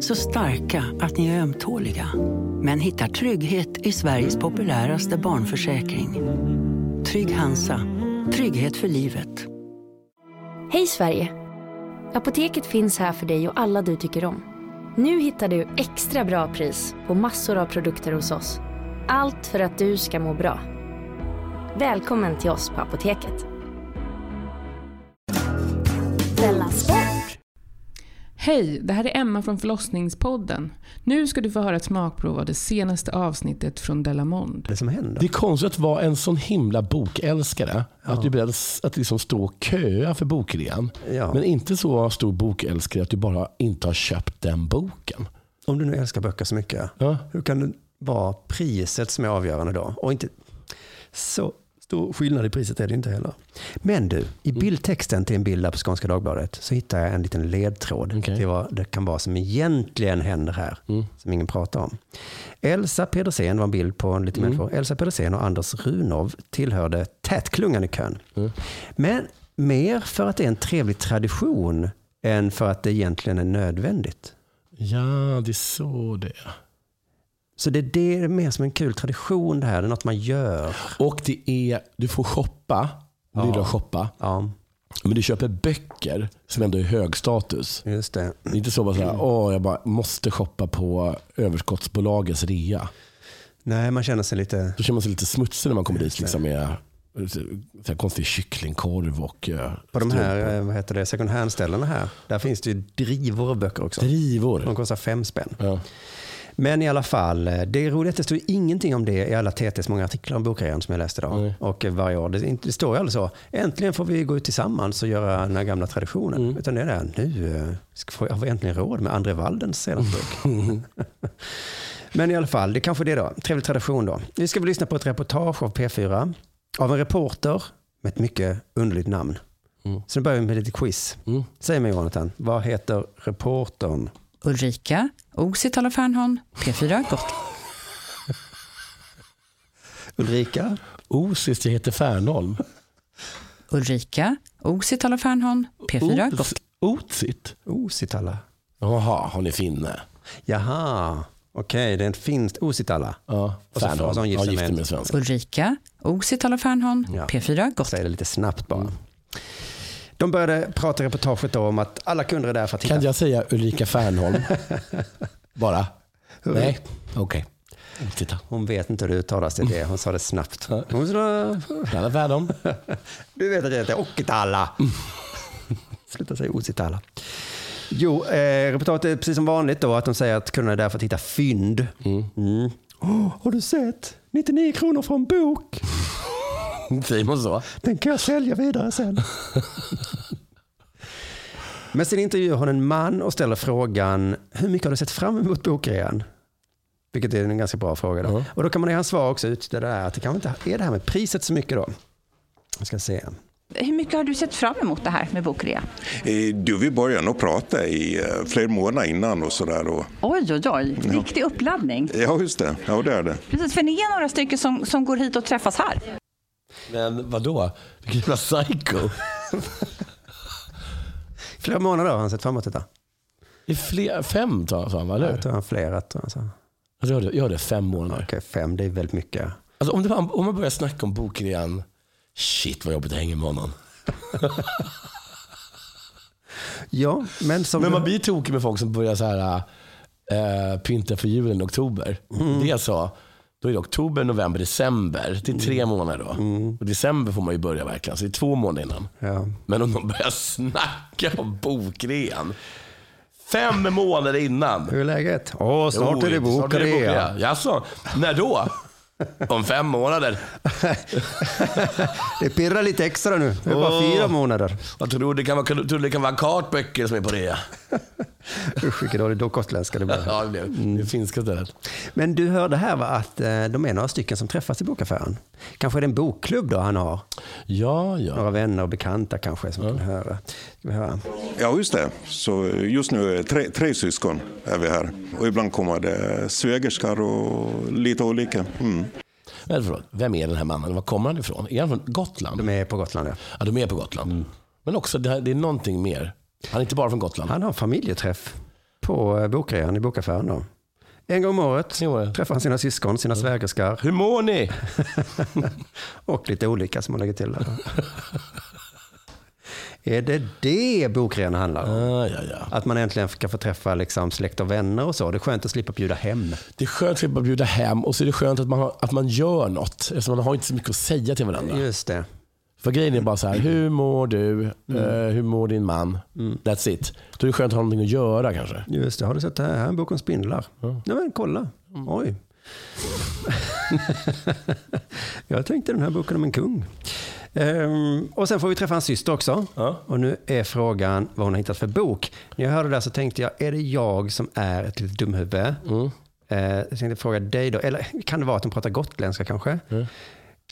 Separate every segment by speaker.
Speaker 1: Så starka att ni är ömtåliga. Men hittar trygghet i Sveriges populäraste barnförsäkring. Trygg Hansa. Trygghet för livet.
Speaker 2: Hej Sverige! Apoteket finns här för dig och alla du tycker om. Nu hittar du extra bra pris på massor av produkter hos oss. Allt för att du ska må bra. Välkommen till oss på Apoteket.
Speaker 3: Hej, det här är Emma från förlossningspodden. Nu ska du få höra ett smakprov av det senaste avsnittet från Delamond.
Speaker 4: det som händer?
Speaker 5: Det är konstigt att vara en sån himla bokälskare. Att du är beredd att liksom stå och köa för bokrean.
Speaker 4: Ja.
Speaker 5: Men inte så stor bokälskare att du bara inte har köpt den boken.
Speaker 4: Om du nu älskar böcker så mycket,
Speaker 5: Ja.
Speaker 4: hur kan det vara priset som är avgörande då? Och inte så stor skillnad i priset är det inte heller. Men du, i
Speaker 5: Mm.
Speaker 4: bildtexten till en bild där på Skånska Dagbladet så hittar jag en liten ledtråd
Speaker 5: Okej. Mm.
Speaker 4: till vad det kan vara som egentligen händer här, som ingen pratar om. Elsa Pedersen var en bild på en liten
Speaker 5: Mm.
Speaker 4: människa. Elsa Pedersen och Anders Runov tillhörde tätklungan i kön.
Speaker 5: Mm.
Speaker 4: Men mer för att det är en trevlig tradition än för att det egentligen är nödvändigt.
Speaker 5: Ja, det är så det är.
Speaker 4: Så det, det är mer som en kul tradition det här. Det är något man gör.
Speaker 5: Och det är, du får shoppa. Det är bra att shoppa.
Speaker 4: Ja,
Speaker 5: Men du köper böcker som ändå är hög status.
Speaker 4: just det.
Speaker 5: Det är Inte så bara såhär,
Speaker 4: Mm.
Speaker 5: åh jag bara måste shoppa på överskottsbolagets rea.
Speaker 4: Nej, man känner sig lite...
Speaker 5: Då känner man sig lite smutsig när man kommer dit liksom, med så här konstig kycklingkorv och eh,
Speaker 4: På de här eh, vad heter det, second hand-ställena här, där finns det ju drivor av böcker också. De
Speaker 5: drivor.
Speaker 4: kostar fem spänn.
Speaker 5: Ja.
Speaker 4: Men i alla fall, eh, det är roligt att det står ingenting om det i alla TTs många artiklar om bokrean som jag läste idag.
Speaker 5: Nej.
Speaker 4: Och eh, varje år. Det, är inte- det står ju aldrig så. Äntligen får vi gå ut tillsammans och göra den här gamla traditionen. Utan det är det här, nu eh, ska- får jag- har vi äntligen råd med André Waldens senaste bok. Men i alla fall, det är kanske det då. Trevlig tradition då. Nu ska vi lyssna på ett reportage av P4 av en reporter med ett mycket underligt namn. Så nu börjar vi med lite quiz. Säg mig Jonathan, vad heter reportern?
Speaker 6: Ulrika Oksitalo Fernholm, P4 Gott.
Speaker 4: Ulrika?
Speaker 5: Osis, jag heter Fernholm.
Speaker 6: Ulrika Oksitalo Fernholm, P4 Gott.
Speaker 5: Otsit?
Speaker 4: Ositala.
Speaker 5: Jaha, hon är finne.
Speaker 4: Jaha, okej, det är en finst Ositala.
Speaker 5: Ja,
Speaker 4: Och så- och så hon
Speaker 5: Fernholm.
Speaker 4: gifter
Speaker 5: Ja,
Speaker 4: sig med
Speaker 5: gifte
Speaker 4: en-
Speaker 5: med en svensk.
Speaker 6: Ulrika Oksitalo Fernholm,
Speaker 4: Ja.
Speaker 6: P4 Gott.
Speaker 4: Säger det lite snabbt bara. De började prata i reportaget då om att alla kunder är där för att hitta...
Speaker 5: Kan jag säga Ulrika Fernholm? Bara? Nej? Okej. Titta.
Speaker 4: Hon vet inte hur det uttalas, det är det. Hon sa det snabbt. Hon sa,
Speaker 5: Fernholm, Fernholm.
Speaker 4: du vet att jag heter Okitala. Sluta säga Ositala. Jo, eh, reportaget är precis som vanligt då att de säger att kunderna är där för att hitta fynd. Mm. Åh, har du sett? 99 kronor för en bok.
Speaker 5: Säger man så?
Speaker 4: Den kan jag sälja vidare sen. Men sen intervjuar hon en man och ställer frågan, hur mycket har du sett fram emot bokrean? Vilket är en ganska bra fråga. Då. Och då kan man i hans svar också ut det där, att det kanske inte är det här med priset så mycket då. Jag ska se.
Speaker 7: Hur mycket har du sett fram emot det här med bokrea?
Speaker 8: Eh, Du, vi började nog prata i eh, flera månader innan och sådär.
Speaker 7: Oj, oj, oj. Riktig uppladdning.
Speaker 8: Ja, just det. Ja, det är det.
Speaker 7: Precis, för ni är några stycken som, som går hit och träffas här.
Speaker 5: Men vadå? Vilken jävla psycho.
Speaker 4: Flera månader har han sett fram emot detta.
Speaker 5: Det är fler, fem sa sa han, va? eller
Speaker 4: Jag
Speaker 5: hur?
Speaker 4: tror han flera. tror jag sa.
Speaker 5: Alltså, jag, hörde, jag hörde fem månader.
Speaker 4: Okej, fem, det är väldigt mycket.
Speaker 5: Alltså, om, det var, om man börjar snacka om boken igen. Shit vad jobbigt det hänger med honom.
Speaker 4: Ja, men som...
Speaker 5: Men man blir tokig med folk som börjar så här, eh, pynta för julen i oktober.
Speaker 4: Mm.
Speaker 5: Det jag sa, då är det oktober, november, december. Det är tre
Speaker 4: Mm.
Speaker 5: månader då. Och december får man ju börja verkligen, så det är två månader innan.
Speaker 4: ja.
Speaker 5: Men om de börjar snacka om bokrean fem månader innan.
Speaker 4: Hur är läget? Åh, snart
Speaker 5: Jo,
Speaker 4: är det
Speaker 5: snart
Speaker 4: bokrea.
Speaker 5: Jaså, när då? Om fem månader.
Speaker 4: Det pirrar lite extra nu. Det är bara
Speaker 5: Åh.
Speaker 4: fyra månader.
Speaker 5: Jag tror det kan vara, tror det kan vara kartböcker som är på rea.
Speaker 4: Usch, vilken dålig då gotländska det blev.
Speaker 5: Ja, det blev det finska stället.
Speaker 4: Men du hörde här va, att eh, de är några stycken som träffas i bokaffären. Kanske är det en bokklubb då han har?
Speaker 5: Ja, ja.
Speaker 4: Några vänner och bekanta kanske som kan höra. Ska vi höra?
Speaker 8: Ja, just det. Så eh, just nu är det tre, tre syskon är vi här. Och ibland kommer det svägerskar och lite olika. Mm.
Speaker 5: Men förlåt, vem är den här mannen? Var kommer han ifrån? Är Mm. han från Gotland?
Speaker 4: De är på Gotland. Ja.
Speaker 5: Ja, de är på Gotland. Men också, det, här, det är någonting mer. Han är inte bara från Gotland.
Speaker 4: Han har familjeträff på eh, bokrean i bokaffären. Då. En gång om året
Speaker 5: Jo, ja.
Speaker 4: träffar han sina syskon, sina svägerskar
Speaker 5: Hur mår ni?
Speaker 4: och lite olika som han lägger till där. är det det bokrean handlar om?
Speaker 5: Ah, ja, ja.
Speaker 4: Att man äntligen kan få träffa liksom släkt och vänner och så. Det är skönt att slippa bjuda hem.
Speaker 5: Det är skönt att slippa bjuda hem och så är det skönt att man, har, att man gör något. Eftersom man har inte så mycket att säga till varandra.
Speaker 4: Just det.
Speaker 5: För grejen är bara så här, hur mår du? Eh, hur mår din man? That's it. Då är det skönt att ha någonting att göra kanske.
Speaker 4: Just det. Har du sett det här? Här är en bok om spindlar. Nej men kolla. Oj. Jag tänkte den här boken om en kung. Ehm, och sen får vi träffa hans syster också.
Speaker 5: Ja.
Speaker 4: Och nu är frågan vad hon har hittat för bok. När jag hörde det där så tänkte jag, är det jag som är ett litet dumhuvud? Eh, jag tänkte fråga dig då, eller kan det vara att de pratar gotländska kanske?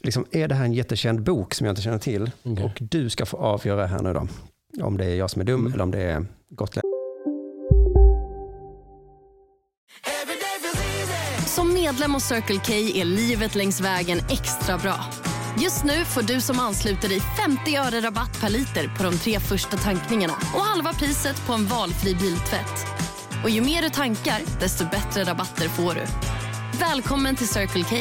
Speaker 4: Liksom, är det här en jättekänd bok som jag inte känner till? Och du ska få avgöra här nu då, om det är jag som är dum eller om det är gotländskt.
Speaker 9: Som medlem hos Circle K är livet längs vägen extra bra. Just nu får du som ansluter dig 50 öre rabatt per liter på de tre första tankningarna och halva priset på en valfri biltvätt. Och ju mer du tankar, desto bättre rabatter får du. Välkommen till Circle K.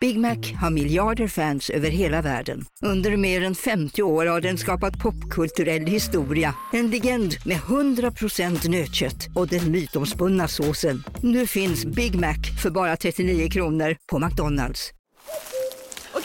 Speaker 10: Big Mac har miljarder fans över hela världen. Under mer än 50 år har den skapat popkulturell historia. En legend med 100% nötkött och den mytomspunna såsen. Nu finns Big Mac för bara 39 kronor på McDonalds.
Speaker 9: Okej,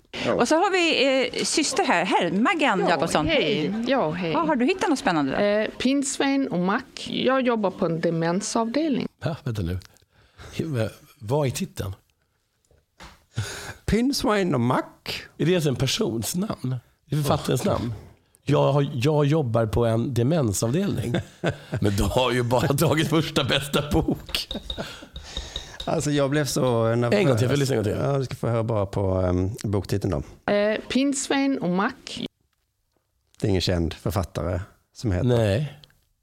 Speaker 7: Och så har vi eh, syster här, Hermagan Jakobsson.
Speaker 3: hej. Ja, hej.
Speaker 7: Ja, har du hittat något spännande där?
Speaker 3: Eh, Pinsvein och Mac. Jag jobbar på en demensavdelning.
Speaker 5: Ja, vänta nu. Vad är titeln?
Speaker 4: Pinswine och Mack.
Speaker 5: Är det alltså en persons namn? Det är författarens namn? Jag, har, jag jobbar på en demensavdelning. Men du har ju bara tagit första bästa bok.
Speaker 4: Alltså jag blev så nervös.
Speaker 5: En gång till, jag vill lyssna en gång till.
Speaker 4: Ja, du ska få höra bara på um, boktiteln då.
Speaker 3: Eh, Pinsvein och Mac.
Speaker 4: Det är ingen känd författare som heter
Speaker 5: Nej.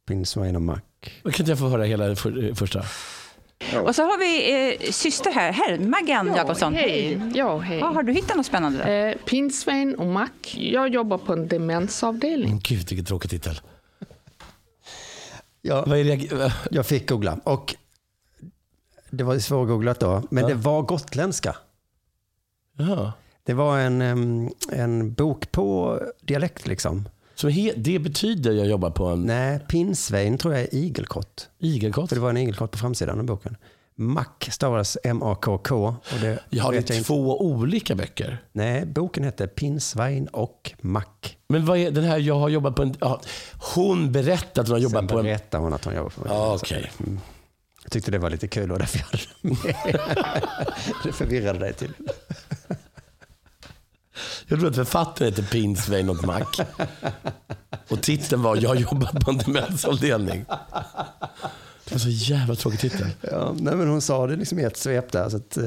Speaker 4: Pinswain och Mack.
Speaker 5: Kan inte jag få höra hela det för, första?
Speaker 7: Och så har vi eh, syster här, Hermagan Jakobsson.
Speaker 3: hej. Ja, hej.
Speaker 7: Ja, har du hittat något spännande där?
Speaker 3: Eh, Pinsvein och Mac. Jag jobbar på en demensavdelning.
Speaker 5: Men gud, vilken tråkig titel.
Speaker 4: Ja,
Speaker 5: Vad är det?
Speaker 4: jag fick googla och det var ju svårgooglat då, men det var gotländska.
Speaker 5: Ja.
Speaker 4: Det var en, em, en bok på dialekt liksom.
Speaker 5: Så he, det betyder jag jobbar på en
Speaker 4: Nej, Pinsvein tror jag är igelkott.
Speaker 5: igelkott?
Speaker 4: För det var en igelkott på framsidan av boken. Mack stavades M-A-K-K. Och det
Speaker 5: Ja,
Speaker 4: vet
Speaker 5: det
Speaker 4: jag
Speaker 5: är
Speaker 4: inte.
Speaker 5: två olika böcker.
Speaker 4: Nej, boken hette Pinsvein och Mack.
Speaker 5: Men vad är den här jag har jobbat på en... Ja, hon berättar att hon har
Speaker 4: Sen
Speaker 5: jobbat på en...
Speaker 4: berättade hon att hon jobbar på en
Speaker 5: Ja, okej.
Speaker 4: Jag tyckte det var lite kul och därför jag hade det med. Det förvirrade dig till.
Speaker 5: Jag tror att författaren heter Pinsvein och Mac. Och titeln var Jag jobbar på en demensavdelning. Det var så jävla tråkig titel.
Speaker 4: Ja, nej, men hon sa det liksom i ett svep där. Så att, eh,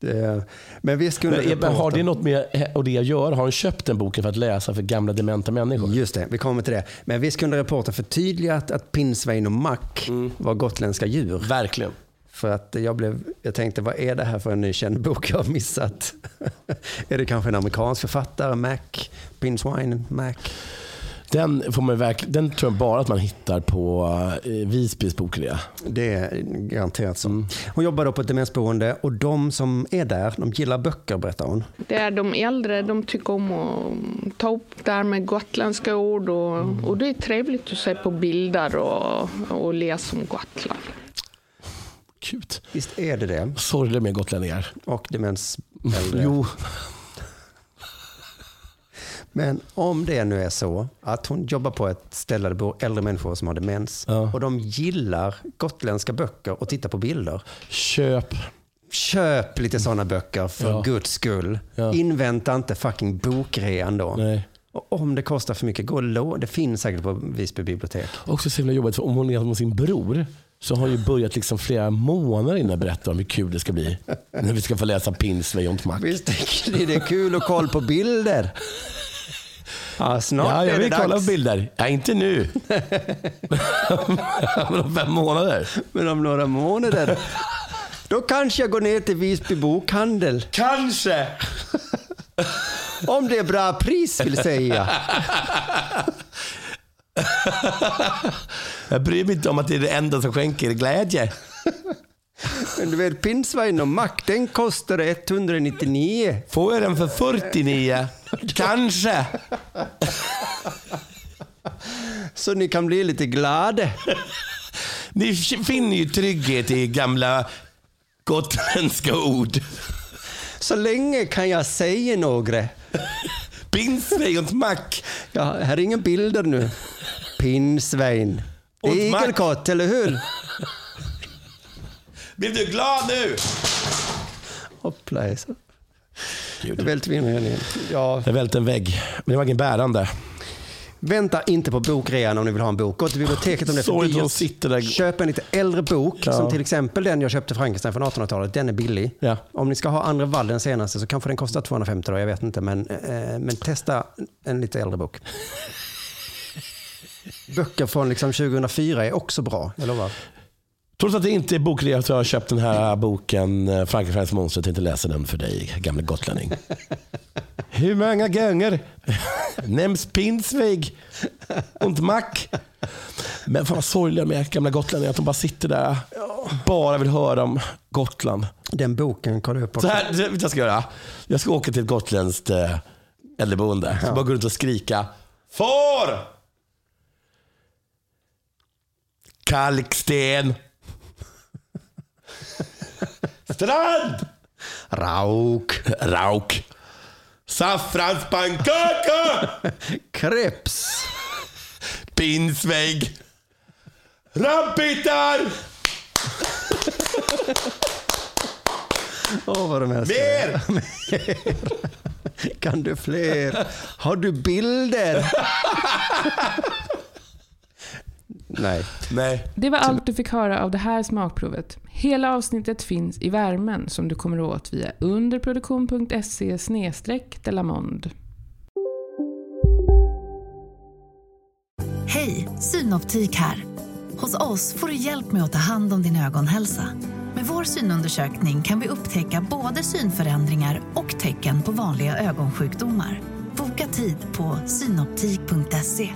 Speaker 4: det, men visst kunde
Speaker 5: Men, Ebba, har det
Speaker 4: reportern-
Speaker 5: något med och det jag gör? Har hon köpt den boken för att läsa för gamla dementa människor?
Speaker 4: Just det, vi kommer till det. Men visst kunde reportern förtydliga att, att pinsvein och mack var gotländska djur.
Speaker 5: Verkligen.
Speaker 4: För att jag, blev, jag tänkte, vad är det här för en ny känd bok jag har missat? är det kanske en amerikansk författare, Mac? Pinswine, Mac?
Speaker 5: Den, får man verkligen, den tror jag bara att man hittar på eh, Visbys bokrea.
Speaker 4: Det är garanterat så. Hon jobbar då på ett demensboende och de som är där, de gillar böcker berättar hon.
Speaker 11: Det är de äldre, de tycker om att ta upp det här med gotländska ord och, och det är trevligt att se på bilder och, och läsa om Gotland.
Speaker 5: Kul.
Speaker 4: Visst är det det?
Speaker 5: Sorgligt med gotlänningar.
Speaker 4: Och demens äldre.
Speaker 5: Jo.
Speaker 4: Men om det nu är så att hon jobbar på ett ställe där det bor äldre människor som har demens och de gillar gotländska böcker och tittar på bilder.
Speaker 5: Köp.
Speaker 4: Köp lite sådana böcker för
Speaker 5: Ja.
Speaker 4: guds skull.
Speaker 5: Ja.
Speaker 4: Invänta inte fucking bokrean då.
Speaker 5: Nej.
Speaker 4: Och om det kostar för mycket, gå och låna. Det finns säkert på Visby bibliotek.
Speaker 5: Också så himla jobbigt, för om hon är med sin bror så har hon ju börjat liksom flera månader innan berätta om hur kul det ska bli. När vi ska få läsa Pinslejontmack.
Speaker 4: Visst är det kul att kolla på bilder? Ja, snart
Speaker 5: ja, jag
Speaker 4: är det
Speaker 5: vill kolla på
Speaker 4: dags.
Speaker 5: bilder. Ja, inte nu. Men om fem månader.
Speaker 4: Men om några månader, då kanske jag går ner till Visby bokhandel.
Speaker 5: Kanske!
Speaker 4: Om det är bra pris vill säga.
Speaker 5: Jag bryr mig inte om att det är det enda som skänker glädje.
Speaker 4: Men du vet, pinsvin och mack, den kostar 199.
Speaker 5: Får jag den för 49? Kanske.
Speaker 4: Så ni kan bli lite glada.
Speaker 5: Ni finner ju trygghet i gamla gotländska ord.
Speaker 4: Så länge kan jag säga några.
Speaker 5: Pinslejontmack.
Speaker 4: Ja, här är inga bilder nu. Pinsvein. Det är
Speaker 5: Och mack.
Speaker 4: igelkott, eller hur?
Speaker 5: Blev du glad nu?
Speaker 4: Hoppla hejsan. Nu välter vi in här igen. Ja.
Speaker 5: Jag välte en vägg, men det var ingen bärande.
Speaker 4: Vänta inte på bokrean om ni vill ha en bok. Gå till biblioteket om det är
Speaker 5: Sorry
Speaker 4: för
Speaker 5: att de
Speaker 4: dyrt.
Speaker 5: sitter där.
Speaker 4: Köp en lite äldre bok,
Speaker 5: Ja.
Speaker 4: som till exempel den jag köpte Frankenstein från 1800-talet. Den är billig.
Speaker 5: Ja.
Speaker 4: Om ni ska ha andra Wall, den senaste, så kanske den kostar 250 då, jag vet inte. Men, eh, men testa en lite äldre bok. Böcker från liksom 2004 är också bra, jag lovar.
Speaker 5: Trots att det inte är bokrea så har jag köpt den här boken eh, Frankensteins monster. Jag tänkte läsa den för dig, gamle gotlänning. Hur många gånger nämns Pinsvig och mack? Men fan vad sorgliga med gamla gotlänningar, att de bara sitter där bara vill höra om Gotland.
Speaker 4: Den boken kolla upp
Speaker 5: Så
Speaker 4: också.
Speaker 5: här, det- vet du vad jag ska göra. Jag ska åka till ett gotländskt eh, äldreboende. Så bara gå runt och skrika. Får! Kalksten! Strand!
Speaker 4: Rauk,
Speaker 5: Rauk! Saffranspannkaka!
Speaker 4: kreps,
Speaker 5: Pinsvägg! Rabbittar!
Speaker 4: åh vad de älskar det.
Speaker 5: Mer!
Speaker 4: Kan du fler? Har du bilder? Nej.
Speaker 5: Nej.
Speaker 3: Det var allt du fick höra av det här smakprovet. Hela avsnittet finns i värmen som du kommer åt via underproduktion.se delamond.
Speaker 12: Hej, Synoptik här. Hos oss får du hjälp med att ta hand om din ögonhälsa. Med vår synundersökning kan vi upptäcka både synförändringar och tecken på vanliga ögonsjukdomar. Boka tid på synoptik.se.